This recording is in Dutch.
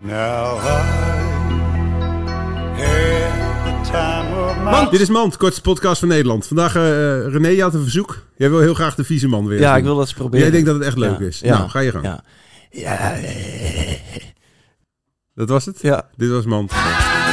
Now I had the time of my Dit is Mand, kortste podcast van Nederland. Vandaag, eh eh, René, je had een verzoek. Jij wil heel graag de vieze man weer. Ja, doen. ik wil dat eens proberen. Jij denkt dat het echt leuk is. Nou, ga je gang. Ja. Ja, eh, Dat was het? Ja. Dit was Mand.